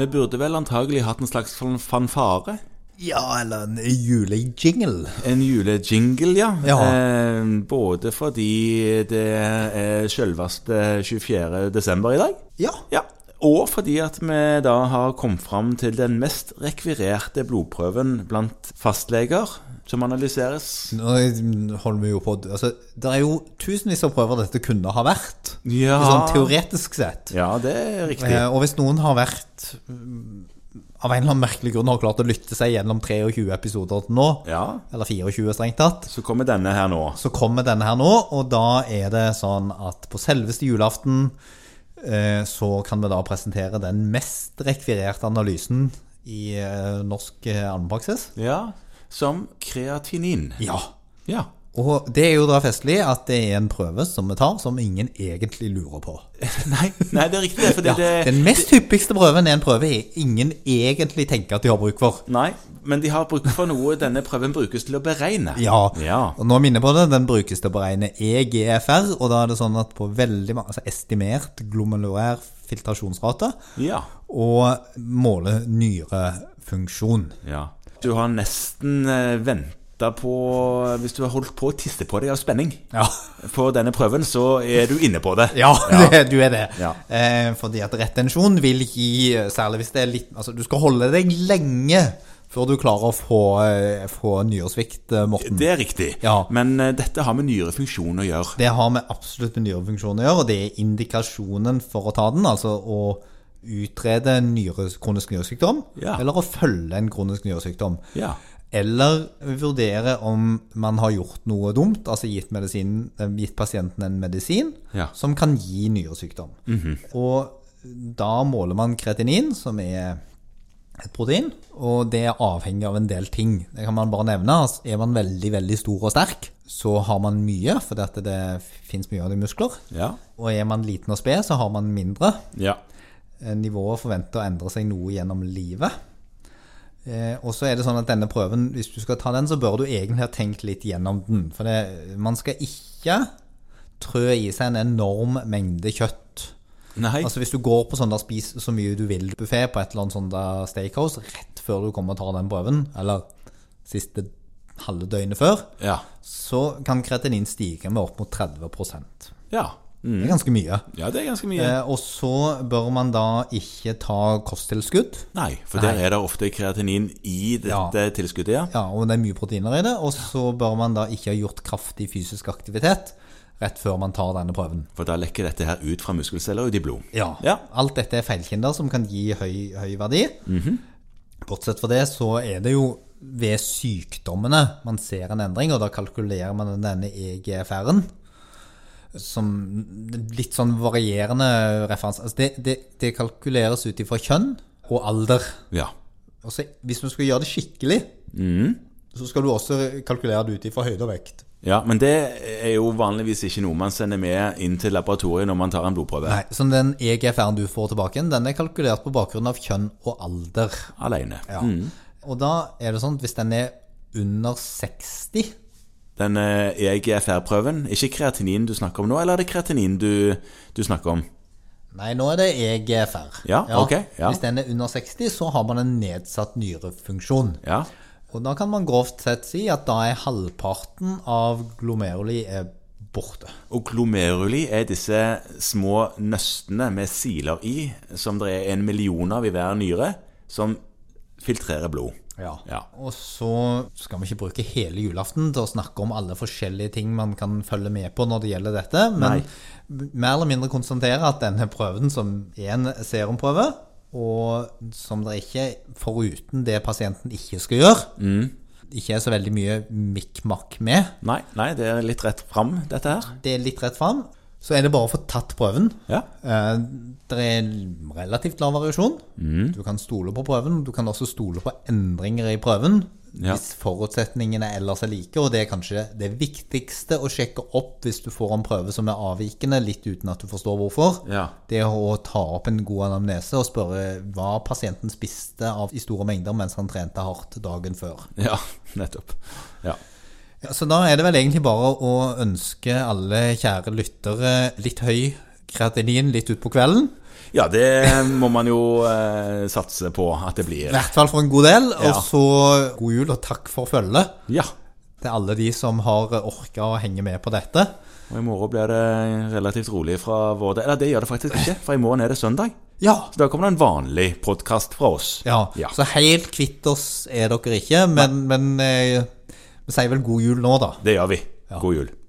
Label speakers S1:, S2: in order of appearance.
S1: Vi burde vel antagelig hatt en slags fan- fanfare.
S2: Ja, eller en julejingle.
S1: En julejingle, ja.
S2: Ja.
S1: Eh, både fordi det er selveste 24. desember i dag,
S2: Ja.
S1: ja. og fordi at vi da har kommet fram til den mest rekvirerte blodprøven blant fastleger som analyseres.
S2: Nå holder vi jo på altså, Det er jo tusenvis av prøver dette kunne ha vært.
S1: Ja.
S2: Sånn teoretisk sett.
S1: Ja, det er riktig.
S2: Eh, og hvis noen har vært mm, Av en eller annen merkelig grunn har klart å lytte seg gjennom 23 episoder til nå,
S1: Ja.
S2: eller 24 strengt tatt,
S1: Så kommer denne her nå.
S2: så kommer denne her nå, og da er det sånn at på selveste julaften eh, så kan vi da presentere den mest rekvirerte analysen i eh, norsk eh, allmennpraksis.
S1: Ja, som kreatinin.
S2: Ja.
S1: Ja.
S2: Og det er jo da festlig at det er en prøve som vi tar, som ingen egentlig lurer på.
S1: Nei, nei, det er riktig, det. Fordi
S2: Ja,
S1: det
S2: den mest hyppigste prøven er en prøve ingen egentlig tenker at de har bruk for.
S1: Nei, men de har bruk for noe denne prøven brukes til å beregne.
S2: Ja.
S1: ja.
S2: Og nå minner jeg på det, den brukes til å beregne E EGFR, og da er det sånn at på veldig mange, altså estimert glomerulær filtrasjonsrate,
S1: Ja.
S2: og måle nyrefunksjon.
S1: ja. Du har nesten venta på Hvis du har holdt på å tisse på deg av spenning
S2: Ja,
S1: på denne prøven, så er du inne på det.
S2: ja, Det, du er det.
S1: Ja.
S2: Eh, fordi at retensjon vil gi, eh, særlig hvis det er litt Altså, du skal holde deg lenge før du klarer å få, eh, få nyresvikt, eh, Morten. Det,
S1: Det er riktig.
S2: Ja.
S1: Men eh, dette har med nyrefunksjon å gjøre.
S2: har med absolutt med nyrefunksjon å gjøre, og det er indikasjonen for å ta den. Altså å utrede en nyre, kronisk nyresykdom,
S1: Ja.
S2: eller å følge en kronisk nyresykdom.
S1: Ja.
S2: Eller vurdere om man har gjort noe dumt, altså gitt, medisin, eh, gitt pasienten en medisin
S1: Ja. Mhm.
S2: som kan gi nyresykdom. Og da måler man kretinin, som er et protein, og det er avhengig av en del ting. Det kan man bare nevne. Altså, er man veldig, veldig stor og sterk, så har man mye, for det, det finnes mye av det i muskler.
S1: Ja.
S2: Og er man liten og sped, så har man mindre.
S1: Ja.
S2: Eh, nivået forventer å endre seg noe gjennom livet. Eh, og så er det sånn at denne prøven, hvis du skal ta den, så bør du egentlig ha tenkt litt gjennom den. For det, man skal ikke trø i seg en enorm mengde kjøtt.
S1: Nei.
S2: Altså Hvis du går på sånn der spis så mye du vil-buffé på et eller annet sånn der steakhouse rett før du kommer og tar den prøven, eller siste halve døgnet før,
S1: Ja.
S2: så kan kretinin stige med opp mot 30 Det
S1: Ja. Mm.
S2: er ganske mye.
S1: ja, det er ganske mye.
S2: Eh, Og så bør man da ikke ta kosttilskudd.
S1: Nei, for der er det ofte kreatinin i dette tilskuddet, ja.
S2: Ja, og det er mye proteiner i det. Og så bør man da ikke ha gjort kraftig fysisk aktivitet rett før man tar denne prøven.
S1: For da lekker dette her ut fra muskelceller ut i blod. Ja.
S2: Alt dette er feilkinder som kan gi høy, høy verdi. Bortsett fra det så er det jo ved sykdommene man ser en endring, og da kalkulerer man denne E EGFR-en. Som litt sånn varierende referanse. Altså det, det, det kalkuleres ut ifra kjønn og alder.
S1: Ja.
S2: Og så, hvis du skal gjøre det skikkelig, så skal du også kalkulere det ut ifra høyde og vekt.
S1: Ja, men det er jo vanligvis ikke noe man sender med inn til laboratoriet når man tar en blodprøve
S2: Nei, Så den E EGFR-en du får tilbake, igjen, den er kalkulert på bakgrunn av kjønn og alder.
S1: alene.
S2: Ja. Og da er det sånn at hvis den er under 60
S1: Den eh, EGFR-prøven, ikke kreatinin du snakker om nå, eller er det kreatinin du, du snakker om?
S2: Nei, nå er det E EGFR.
S1: Ja, ok, ja.
S2: Hvis den er under 60, så har man en nedsatt nyrefunksjon.
S1: Ja,
S2: Og da kan man grovt sett si at da er halvparten av glomeruli er borte.
S1: og glomeruli er disse små nøstene med siler i, som det er en million av i hver nyre, som filtrerer blod.
S2: Ja.
S1: Ja.
S2: Og så skal vi ikke bruke hele julaften til å snakke om alle forskjellige ting man kan følge med på når det gjelder dette, men mer eller mindre konstatere at denne prøven, som er en serumprøve, og som det ikke, foruten det pasienten ikke skal gjøre, ikke er så veldig mye mikk-makk med,
S1: Nei, nei, det er litt rett fram, dette her.
S2: det er litt rett fram, så er det bare å få tatt prøven.
S1: Ja,
S2: Eh, Det er relativt lav variasjon.
S1: Mm.
S2: Du kan stole på prøven. Du kan også stole på endringer i prøven
S1: Ja.
S2: hvis forutsetningene ellers er like. Og det er kanskje det viktigste å sjekke opp hvis du får en prøve som er avvikende, litt uten at du forstår hvorfor.
S1: Ja.
S2: Det å ta opp en god anamnese og spørre hva pasienten spiste av i store mengder mens han trente hardt dagen før.
S1: ja nettopp. Ja.
S2: Ja, Så da er det vel egentlig bare å ønske alle kjære lyttere litt høy kreatinin litt utpå kvelden.
S1: Ja, det må man jo eh, satse på at det
S2: I
S1: blir.
S2: hvert fall for en god del.
S1: Ja.
S2: Og så god jul og takk for følget
S1: Ja.
S2: til alle de som har orka å henge med på dette.
S1: Og i morgen blir det relativt rolig fra vår del. Eller det gjør det faktisk ikke, for i morgen er det søndag.
S2: Ja.
S1: Så da kommer det en vanlig podkast fra oss.
S2: ja.
S1: Ja.
S2: Så helt kvitt oss er dere ikke, men, men eh, vi sier vel god jul nå, da.
S1: Det gjør vi. God jul.